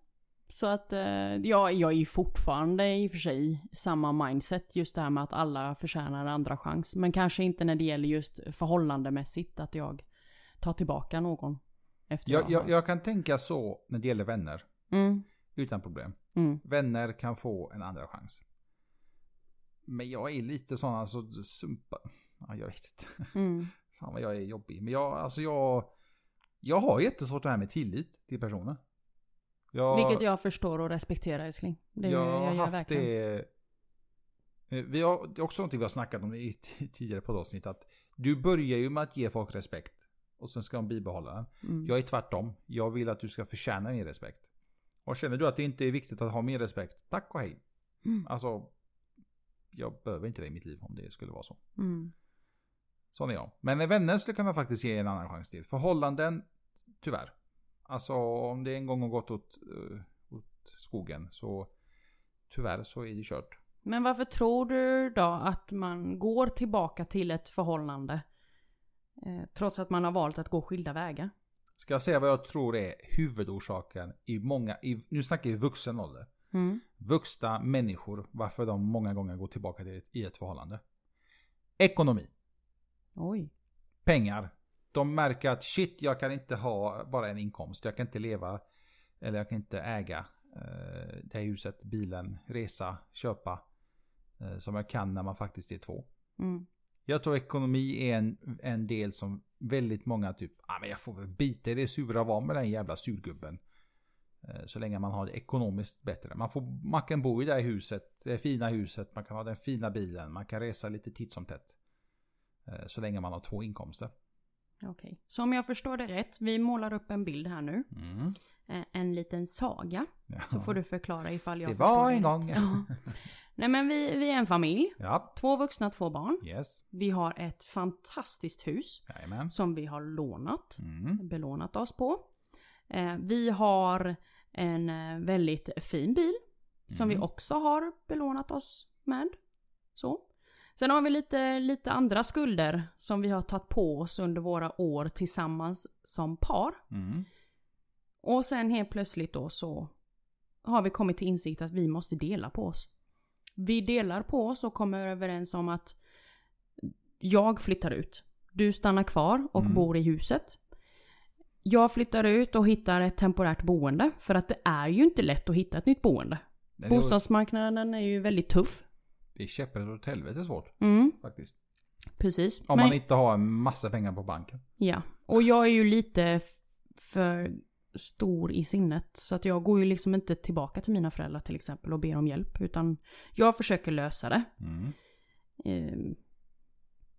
Så att eh, ja, jag är ju fortfarande i och för sig samma mindset. Just det här med att alla förtjänar en andra chans. Men kanske inte när det gäller just förhållandemässigt att jag tar tillbaka någon. Efter Jag, har- jag, jag kan tänka så när det gäller vänner. Mm, Utan problem. mm, Vänner kan få en andra chans. Men jag är lite sån alltså sumpa. Ja, jag vet inte. mm, Fan vad jag är jobbig. Men jag, alltså jag. Jag har jättesvårt det här med tillit till personer. Jag, Vilket jag förstår och respekterar älskling. Det jag jag, har jag gör haft verkligen. det... eh, Vi har, det är också någonting vi har snackat om i t- tidigare poddavsnitt. Att du börjar ju med att ge folk respekt. Och sen ska de bibehålla den. Mm. Jag är tvärtom. Jag vill att du ska förtjäna min respekt. Och känner du att det inte är viktigt att ha min respekt, tack och hej. Mm. Alltså, jag behöver inte det i mitt liv om det skulle vara så. Mm. Sån är jag. Men vänner skulle kunna faktiskt ge en annan chans till. Förhållanden, tyvärr. Alltså om det en gång har gått åt, eh, åt skogen så tyvärr så är det kört. Men varför tror du då att man går tillbaka till ett förhållande? Eh, trots att man har valt att gå skilda vägar? Ska jag säga vad jag tror är huvudorsaken i många, i, nu snackar vi vuxen ålder. Mm. Vuxna människor, varför de många gånger går tillbaka till ett, i ett förhållande. Ekonomi, Oj. pengar. De märker att shit, jag kan inte ha bara en inkomst. Jag kan inte leva, eller jag kan inte äga eh, det här huset, bilen, resa, köpa. Eh, som jag kan när man faktiskt är två. Mm. Jag tror ekonomi är en, en del som väldigt många typ, ah, men jag får väl bita i det sura och vara med den jävla surgubben. Eh, Så länge man har det ekonomiskt bättre. Man, får, man kan bo i det här huset, det fina huset, man kan ha den fina bilen, man kan resa lite titt som tätt. Eh, Så länge man har två inkomster. Okej. Så om jag förstår det rätt, vi målar upp en bild här nu. Eh, En liten saga. Mm. Ja. Så får du förklara ifall jag Det förstår var det en rätt. gång. Ja. Nej men vi, vi är en familj. Ja, Två vuxna, två barn. yes. Vi har ett fantastiskt hus Jajamän. som vi har lånat. Mm. Belånat oss på. Eh, Vi har en eh, väldigt fin bil. Som Mm. vi också har belånat oss med. Så. Sen har vi lite, lite andra skulder som vi har tagit på oss under våra år tillsammans som par. Mm. Och sen helt plötsligt då så har vi kommit till insikt att vi måste dela på oss. Vi delar på oss och kommer överens om att jag flyttar ut. Du stannar kvar och Mm. bor i huset. Jag flyttar ut och hittar ett temporärt boende. För att det är ju inte lätt att hitta ett nytt boende. Den är- Bostadsmarknaden är ju väldigt tuff. Det är käpprätt åt helvete svårt Mm, faktiskt. precis. Om Men- man inte har en massa pengar på banken. Ja, och jag är ju lite f- för stor i sinnet. Så att jag går ju liksom inte tillbaka till mina föräldrar till exempel och ber om hjälp. Utan jag försöker lösa det. Mm. Ehm,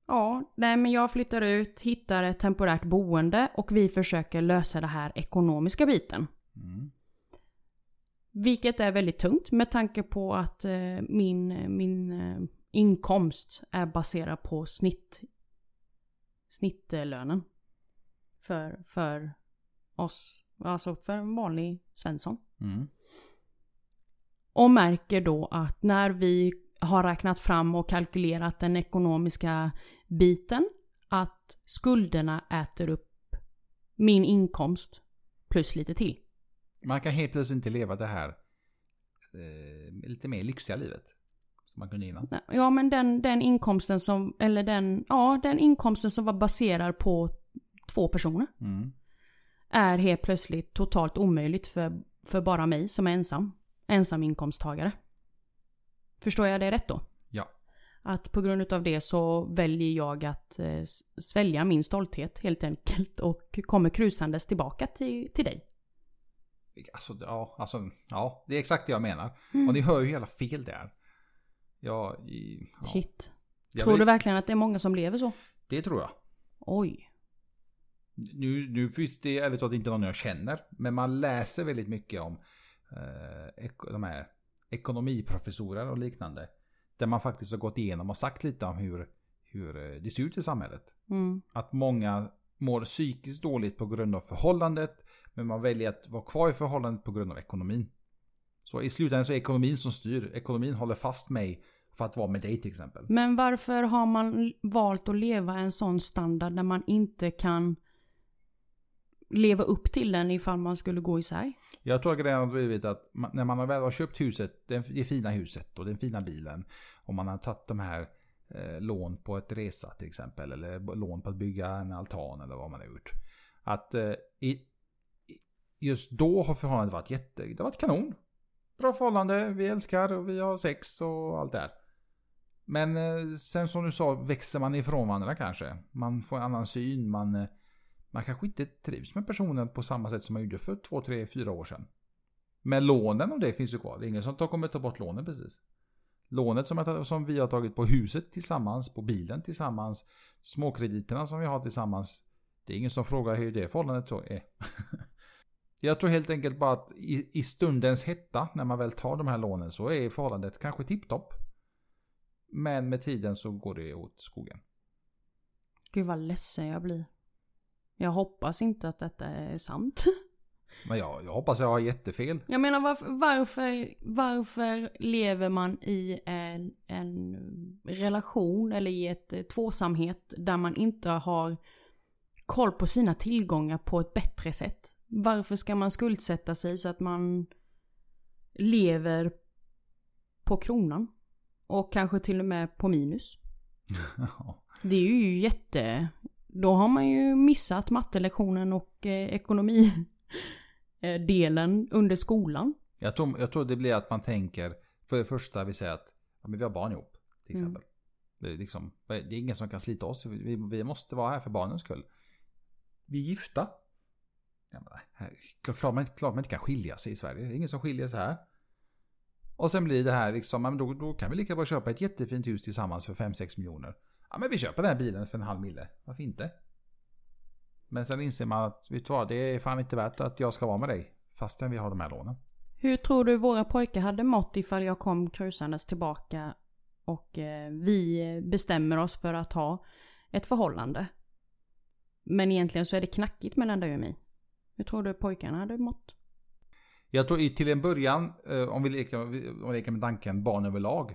Ja, nej men jag flyttar ut, hittar ett temporärt boende och vi försöker lösa den här ekonomiska biten. Mm. Vilket är väldigt tungt med tanke på att eh, min, min eh, inkomst är baserad på snitt, snittlönen. För, för oss, alltså för en vanlig svensson. Mm. Och märker då att när vi har räknat fram och kalkylerat den ekonomiska biten. Att skulderna äter upp min inkomst plus lite till. Man kan helt plötsligt inte leva det här eh, lite mer lyxiga livet. Som man kunde innan. Ja men den, den inkomsten som, eller den, ja den inkomsten som var baserad på två personer Mm. är helt plötsligt totalt omöjligt för, för bara mig som är ensam. Ensam inkomsttagare. Förstår jag det rätt då? Ja. Att på grund av det så väljer jag att eh, s- svälja min stolthet helt enkelt och kommer krusandes tillbaka till, till dig. Alltså, ja, alltså, ja, det är exakt det jag menar. Mm. Och ni hör ju hela fel där. Ja, i, ja. Shit. Jag Tror vet- du verkligen att det är många som lever så? Det tror jag. Oj. Nu, nu finns det ärligt talat inte någon jag känner. Men man läser väldigt mycket om eh, ek- de här ekonomiprofessorer och liknande. Där man faktiskt har gått igenom och sagt lite om hur, hur eh, det ser ut i samhället. Mm. Att många mår psykiskt dåligt på grund av förhållandet. Men man väljer att vara kvar i förhållandet på grund av ekonomin. Så i slutändan så är ekonomin som styr. Ekonomin håller fast mig för att vara med dig till exempel. Men varför har man valt att leva en sån standard när man inte kan leva upp till den ifall man skulle gå isär? Jag tror att grejen har blivit att man, när man väl har köpt huset, det, det fina huset och den fina bilen. Och man har tagit de här eh, lån på ett resa till exempel. Eller b- lån på att bygga en altan eller vad man har gjort. Att eh, i, i- just då har förhållandet varit jätte... Det har varit kanon. Bra förhållande, vi älskar och vi har sex och allt det här. Men eh, sen som du sa växer man ifrån varandra kanske. Man får en annan syn, man... Eh, man kanske inte trivs med personen på samma sätt som man gjorde för två, tre, fyra år sedan. Men lånen och det finns ju kvar. Det är ingen som tar- kommer ta bort lånen precis. Lånet som, jag tar- som vi har tagit på huset tillsammans, på bilen tillsammans, småkrediterna som vi har tillsammans. Det är ingen som frågar hur det förhållandet så är. Jag tror helt enkelt bara att i, i stundens hetta, när man väl tar de här lånen, så är förhållandet kanske tipptopp. Men med tiden så går det åt skogen. Gud vad ledsen jag blir. Jag hoppas inte att detta är sant. Men jag, jag hoppas jag har jättefel. Jag menar varför, varför, varför lever man i en, en relation eller i ett eh, tvåsamhet där man inte har koll på sina tillgångar på ett bättre sätt? Varför ska man skuldsätta sig så att man lever på kronan? Och kanske till och med på minus. Det är ju jätte... Då har man ju missat mattelektionen och eh, ekonomidelen under skolan. Jag tror, jag tror det blir att man tänker, för det första vi säger att ja, men vi har barn ihop. Till Mm. exempel. Det, är liksom, det är ingen som kan slita oss, vi, vi måste vara här för barnens skull. Vi är gifta. Ja, men, här, klart, klart, man, inte- klart man inte kan skilja sig i Sverige, det är ingen som skiljer sig här. Och sen blir det här liksom, ja, men då, då kan vi lika bra köpa ett jättefint hus tillsammans för 5-6 miljoner. Ja men vi köper den här bilen för en halv mille, varför inte? Men sen inser man att, vet du vad, det är fan inte värt att jag ska vara med dig. Fastän vi har de här lånen. Hur tror du våra pojkar hade mått ifall jag kom krusandes tillbaka och eh, vi bestämmer oss för att ha ett förhållande? Men egentligen så är det knackigt mellan dig och mig. Hur tror du pojkarna hade mått? Jag tror i- till en början, eh, om vi leker, om vi- om vi leker med tanken barn överlag.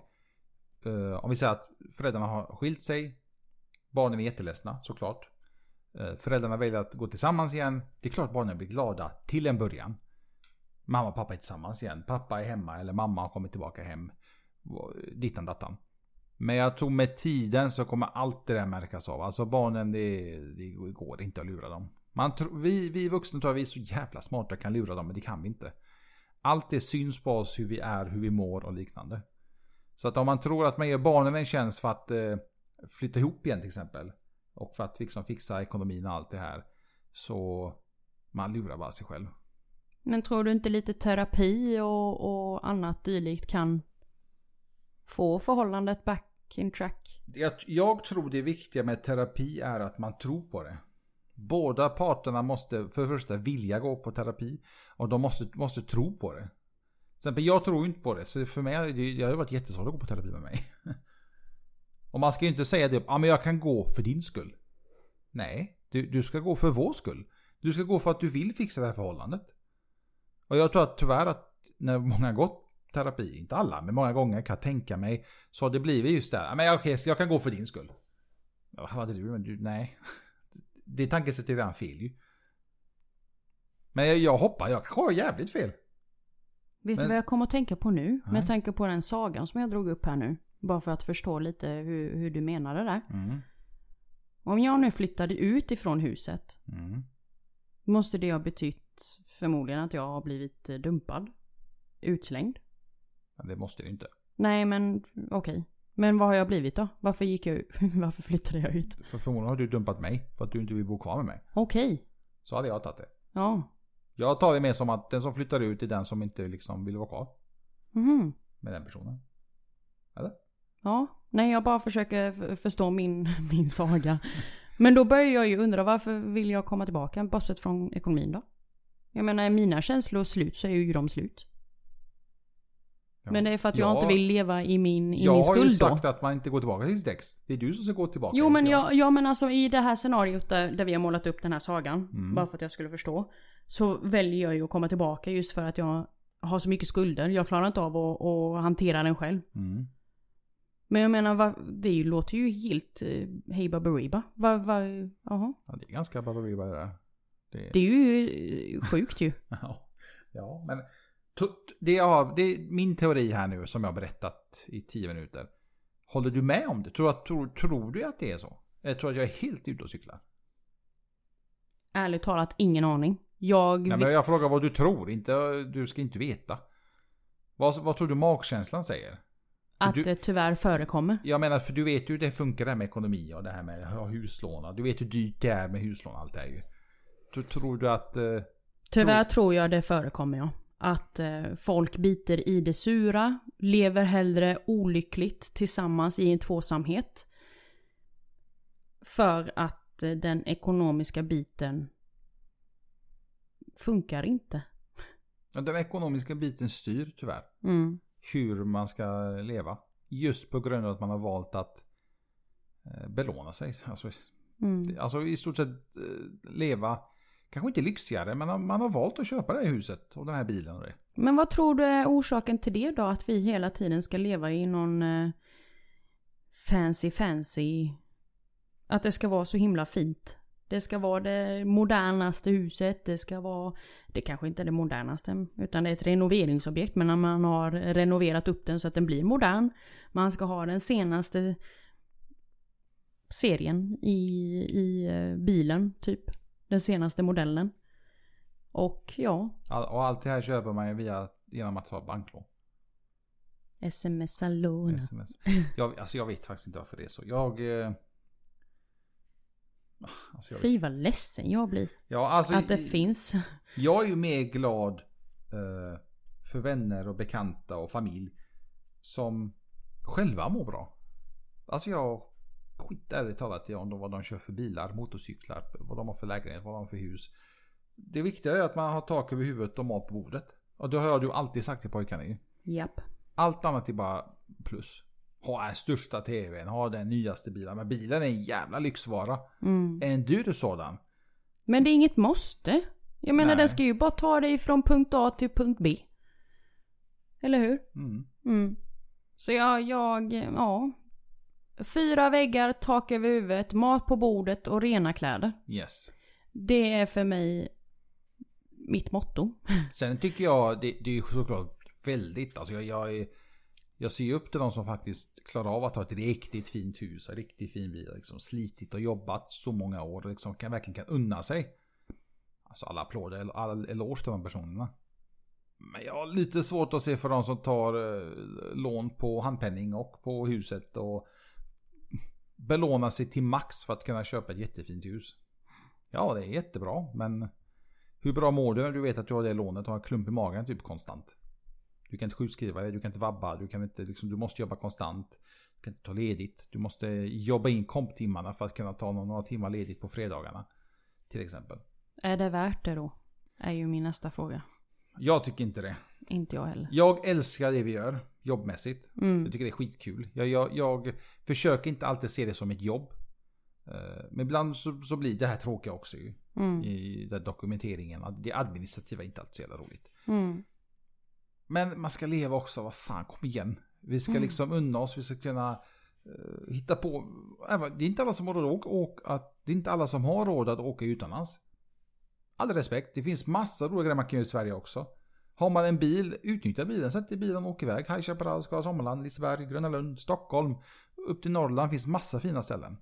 eh, Om vi säger att föräldrarna har skilt sig. Barnen är jätteledsna såklart. Eh, Föräldrarna väljer att gå tillsammans igen. Det är klart barnen blir glada till en början. Mamma och pappa är tillsammans igen. Pappa är hemma eller mamma har kommit tillbaka hem. Och Dittan dattan. Men jag tror med tiden så kommer allt det där märkas av. Alltså barnen, det, det går inte att lura dem. Man tror, vi, vi vuxna tror att vi är så jävla smarta och kan lura dem, men det kan vi inte. Allt det syns på oss, hur vi är, hur vi mår och liknande. Så att om man tror att man ger barnen en tjänst för att eh, flytta ihop igen till exempel. Och för att liksom fixa ekonomin och allt det här. Så man lurar bara sig själv. Men tror du inte lite terapi och, och annat dylikt kan få förhållandet back in track? jag, jag tror det viktiga med terapi är att man tror på det. Båda parterna måste för det första vilja gå på terapi och de måste, måste tro på det. Till exempel, jag tror ju inte på det, så för mig det, det hade varit jättesvårt att gå på terapi med mig. och man ska ju inte säga det, ja men jag kan gå för din skull. Nej, du, du ska gå för vår skull. Du ska gå för att du vill fixa det här förhållandet. Och jag tror att tyvärr att när många har gått terapi, inte alla, men många gånger kan jag tänka mig. Så har det blivit just det här, men okej, så jag kan gå för din skull. Ja, Vad hade du? Men du nej. Det tankesättet är redan fel ju. Men jag, jag hoppar, jag kanske har jävligt fel. Vet Men- du vad jag kommer att tänka på nu? Nej. Med tanke på den sagan som jag drog upp här nu. Bara för att förstå lite hur, hur du menar det där. Mm, Om jag nu flyttade ut ifrån huset. mm. Måste det ha betytt förmodligen att jag har blivit eh, dumpad? Utslängd? Men det måste det ju inte. Nej men okej. Men vad har jag blivit då? Varför gick jag ut? Varför flyttade jag ut? För förmodligen har du dumpat mig för att du inte vill bo kvar med mig. Okej. Så hade jag tagit det. Ja. Jag tar det mer som att den som flyttar ut är den som inte liksom vill vara kvar Mhm. med den personen. Ja. Nej jag bara försöker f- förstå min, min saga. Men då börjar jag ju undra varför vill jag komma tillbaka? Bortsett från ekonomin då? Jag menar är mina känslor slut så är ju de slut. Ja. Men det är för att jag inte vill leva i min, i jag min har ju skuld då. sagt att man inte går tillbaka till sin text. Det är du som ska gå tillbaka. Jo inte men, jag, ja, men alltså i det här scenariot där, där vi har målat upp den här sagan, Mm. bara för att jag skulle förstå. Så väljer jag ju att komma tillbaka just för att jag har så mycket skulder. Jag klarar inte av att, att hantera den själv. Mm. Men jag menar, va, det är ju- låter ju helt eh, hej baberiba. Va, va, jaha. Ja, det är ganska baberiba det där. Det... Det är ju eh, sjukt ju. Ja. ja, men tut- det, jag har, det är min teori här nu som jag har berättat i tio minuter. Håller du med om det? Tror, att, tror, tror du att det är så? Eller tror du att jag är helt ute och cyklar? Ärligt talat, ingen aning. Jag... Nej, vet- men jag frågar vad du tror, inte, du ska inte veta. Vad, vad tror du magkänslan säger? att du- det tyvärr förekommer. Jag menar, för du vet ju hur det funkar det här med ekonomi och det här med att ha huslån. och Du vet hur dyrt det är med huslån och allt det här ju. Då tror du att... eh, Tyvärr tror jag det förekommer ja. Att eh, folk biter i det sura, lever hellre olyckligt tillsammans i en tvåsamhet. För att eh, den ekonomiska biten funkar inte. Den ekonomiska biten styr tyvärr Mm. hur man ska leva. Just på grund av att man har valt att eh, belåna sig. Alltså, Mm. alltså i stort sett eh, leva, kanske inte lyxigare, men man har valt att köpa det här huset och den här bilen och det. Men vad tror du är orsaken till det då? Att vi hela tiden ska leva i någon eh, fancy fancy... Att det ska vara så himla fint. Det ska vara det modernaste huset. Det ska vara... Det kanske inte är det modernaste. Utan det är ett renoveringsobjekt. Men när man har renoverat upp den så att den blir modern. Man ska ha den senaste serien i, i eh, bilen typ. Den senaste modellen. Och ja, All, och allt det här köper man ju via, genom att ta banklån. smsa låna. SMS. Jag, alltså jag vet faktiskt inte varför det är så. Jag... Eh, alltså jag vet, Fy vad ledsen jag blir. ja, alltså, att det finns. Jag är ju mer glad eh, för vänner och bekanta och familj som själva mår bra. Alltså jag skiter ärligt talat i om de, vad de kör för bilar, motorcyklar, vad de har för lägenhet, vad de har för hus. Det viktiga är att man har tak över huvudet och mat på bordet. Och det har du alltid sagt till pojkarna ju. Japp. Allt annat är bara plus. Ha den största tvn, ha den nyaste bilen. Men bilen är en jävla lyxvara. Mm. En dyr sådan. Men det är inget måste. Jag menar Nej. den ska ju bara ta dig från punkt A till punkt B. Eller hur? Mm. Mm. Så jag, jag, ja. Fyra väggar, tak över huvudet, mat på bordet och rena kläder. Yes. Det är för mig mitt motto. Sen tycker jag, det, det är ju såklart väldigt, alltså jag, jag, är, jag ser ju upp till de som faktiskt klarar av att ha ett riktigt fint hus, en riktigt fin bil, liksom slitit och jobbat så många år, liksom kan verkligen kan unna sig. Alltså alla applåder, eller all eloge till de personerna. Men jag har lite svårt att se för de som tar eh, lån på handpenning och på huset och belånar sig till max för att kunna köpa ett jättefint hus. Ja, det är jättebra, men hur bra mår du när du vet att du har det lånet och har en klump i magen typ konstant? Du kan inte sjukskriva dig, du kan inte vabba, du, kan inte, liksom, du måste jobba konstant. Du kan inte ta ledigt. Du måste jobba in komptimmarna för att kunna ta några, några timmar ledigt på fredagarna. Till exempel. Är det värt det då? Är ju min nästa fråga. Jag tycker inte det. Inte jag heller. Jag älskar det vi gör jobbmässigt. Mm. Jag tycker det är skitkul. Jag, jag, jag försöker inte alltid se det som ett jobb. Eh, Men ibland så, så blir det här tråkiga också ju. Mm. I den här dokumenteringen. att Det administrativa är inte alltid så jävla roligt. Mm. Men man ska leva också, vad fan, kom igen. Vi ska liksom unna oss, vi ska kunna eh, hitta på. Även- Det är inte alla som har råd att åka, att, det är inte alla som har råd att åka utomlands. All respekt, det finns massa roliga grejer man kan göra i Sverige också. Har man en bil, utnyttja bilen, sätt dig i bilen och åk iväg. High Chaparral, Skara, Sommarland, Liseberg, Gröna Lund, Stockholm. Upp till Norrland finns massa fina ställen.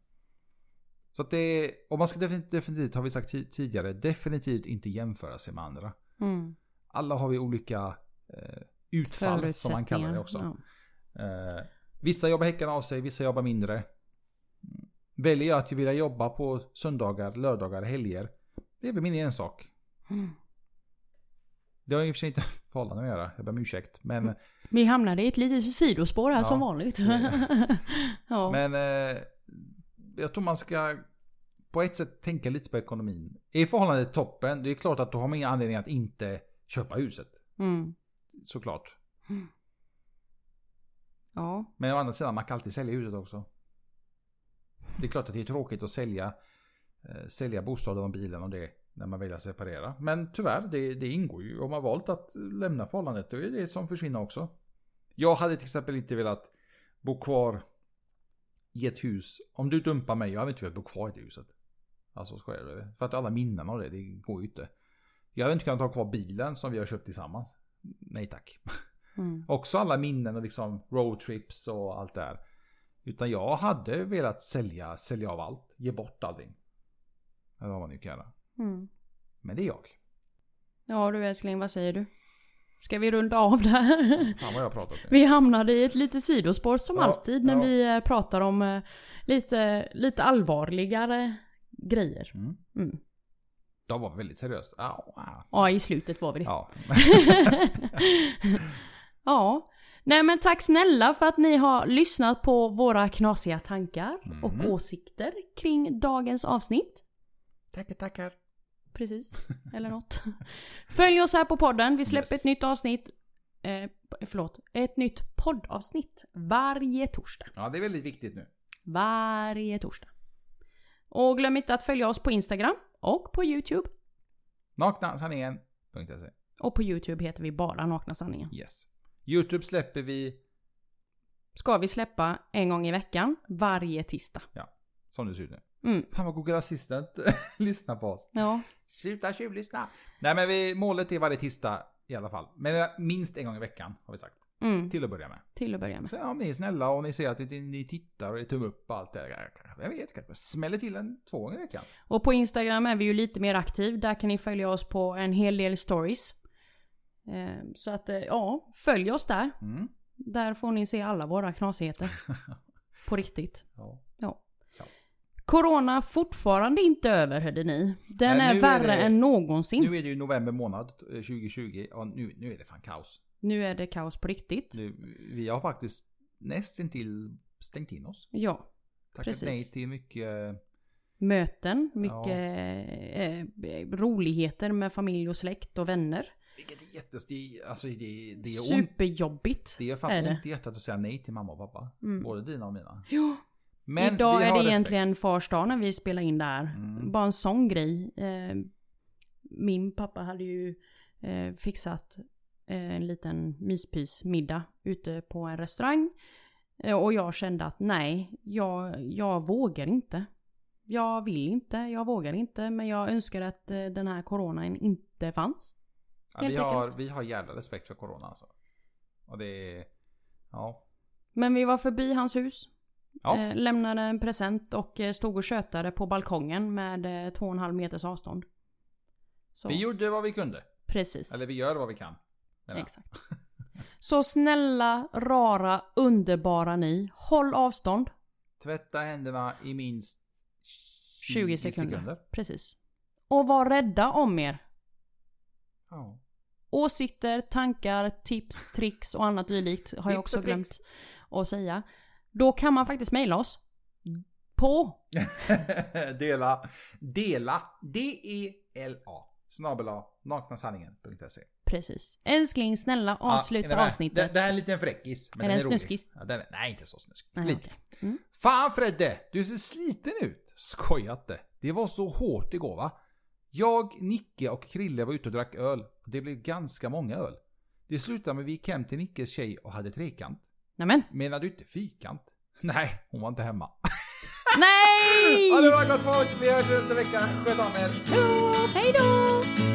Så att det är, och man ska definitivt, definitivt, har vi sagt ti- tidigare, definitivt inte jämföra sig med andra. Mm. Alla har vi olika eh, utfall som man kallar det också. Ja. Eh, vissa jobbar häcken av sig, vissa jobbar mindre. Mm. Väljer jag att vilja jobba på söndagar, lördagar, helger. Det är väl min ensak. Mm. Det har i och för sig inte förhållanden att göra, jag ber om ursäkt. Men, Mm. Vi hamnade i ett litet sidospår här Ja. som vanligt. ja. men eh, jag tror man ska på ett sätt tänka lite på ekonomin. Är förhållandet toppen, det är klart att då har man ingen anledning att inte köpa huset. Mm. Såklart. ja. Men å andra sidan, man kan alltid sälja huset också. Det är klart att det är tråkigt att sälja, eh, sälja bostaden och bilen och det när man väljer att separera. Men tyvärr, det, det ingår ju. Om man valt att lämna förhållandet, då är det som försvinner också. Jag hade till exempel inte velat bo kvar i ett hus. Om du dumpar mig, jag hade inte velat bo kvar i det huset. Alltså skojar du? eller? För att alla minnen av det, det går ju inte. Jag hade inte kunnat ha kvar bilen som vi har köpt tillsammans. Nej tack. Mm. Också alla minnen och liksom roadtrips och allt det här. Utan jag hade velat sälja, sälja av allt, ge bort allting. Eller vad man nu kan göra. Mm. Men det är jag. ja du älskling, vad säger du? Ska vi runda av där? Fan vad jag har pratat nu. Vi hamnade i ett litet sidospår som Ja, alltid när ja. vi eh, pratar om eh, lite, lite allvarligare grejer. Mm. Mm. Jag var väldigt seriös. Au, au. Ja, i slutet var vi det. Ja. ja. Nej men tack snälla för att ni har lyssnat på våra knasiga tankar och Mm. åsikter kring dagens avsnitt. Tackar, tackar. Precis, eller något. Följ oss här på podden, vi släpper Yes. ett nytt avsnitt. Eh, förlåt, ett nytt poddavsnitt varje torsdag. Ja, det är väldigt viktigt nu. Varje torsdag. Och glöm inte att följa oss på Instagram och på YouTube. Nakna sanningen. Punkt .se. Och på YouTube heter vi bara Nakna Sanningen. Yes. Youtube släpper vi, Ska vi släppa en gång i veckan, varje tisdag. som det ser ut nu. Mm. Fan vad Google Assistant lyssnar på oss. Ja. Sluta tjuvlyssna. Nej men vi, målet är varje tisdag i alla fall. Men minst en gång i veckan har vi sagt. Mm, Till att börja med. till att börja med. Sen om ni är snälla och ni ser att ni, ni tittar och det är tumme upp och allt det där. Jag vet kanske smäller till en två gånger i veckan. Och på Instagram är vi ju lite mer aktiv. Där kan ni följa oss på en hel del stories. Eh, Så att eh, ja, följ oss där. Mm. Där får ni se alla våra knasigheter. på riktigt. Ja. Ja. Ja. Corona fortfarande inte över hörde ni. Den Nej, är nu är värre det- än någonsin. Nu... Nu är det ju november månad eh, 2020 och nu, nu är det fan kaos. är det kaos på riktigt. Nu, vi har faktiskt nästintill stängt in oss. Ja. Tackat Precis. nej till mycket. eh, Möten, mycket Ja. eh, eh, roligheter med familj och släkt och vänner. Vilket är jättes... Det är, alltså det, det är ont. Superjobbigt Det gör fan är det. ont i hjärtat att säga nej till mamma och pappa. Mm. Både dina och mina. Ja. Men Idag vi är har det respekt. egentligen fars dag när vi spelar in det här. Mm. Bara en sån grej. Eh, Min pappa hade ju eh, fixat eh, en liten myspysmiddag ute på en restaurang. Eh, Och jag kände att nej, jag, jag vågar inte. Jag vill inte, jag vågar inte. Men jag önskar att eh, den här coronan inte fanns. Ja, vi, helt har, enkelt. vi har jävla respekt för corona alltså. Och det är... Ja. Men vi var förbi hans hus. Ja. Eh, lämnade en present och eh, stod och tjötade på balkongen med eh, två och en halv meters avstånd. Så, Vi gjorde vad vi kunde. precis. Eller vi gör vad vi kan. menar jag. Exakt. Så snälla, rara, underbara ni. Håll avstånd. Tvätta händerna i minst 20, sekunder. Precis. Och var rädda om er. Ja. Åsikter, tankar, tips, tricks och annat dylikt har Tips jag och också tricks. glömt att säga. Då kan man faktiskt mejla oss. På dela. Dela. D-E-L-A. Snabel A. Naknasanningen.se. Precis. Älskling, snälla avsluta är det här- avsnittet. Ah, Det, det här är en liten fräckis. Men Är den den är rolig. snuskig? Ja, den är, nej, inte så snuskig. Nej, Lite. okej. Mm. Fan Fredde, du ser sliten ut. Skoja inte. Det var så hårt igår va? Jag, Nicke och Krille var ute och drack öl. Det blev ganska många öl. Det slutade med att vi gick hem till Nickes tjej och hade trekant. Nämen! Menar du inte fyrkant? Nej, hon var inte hemma. Nej! Ha det bra gott folk! Vi hörs nästa vecka. Sköt om er. Hej då!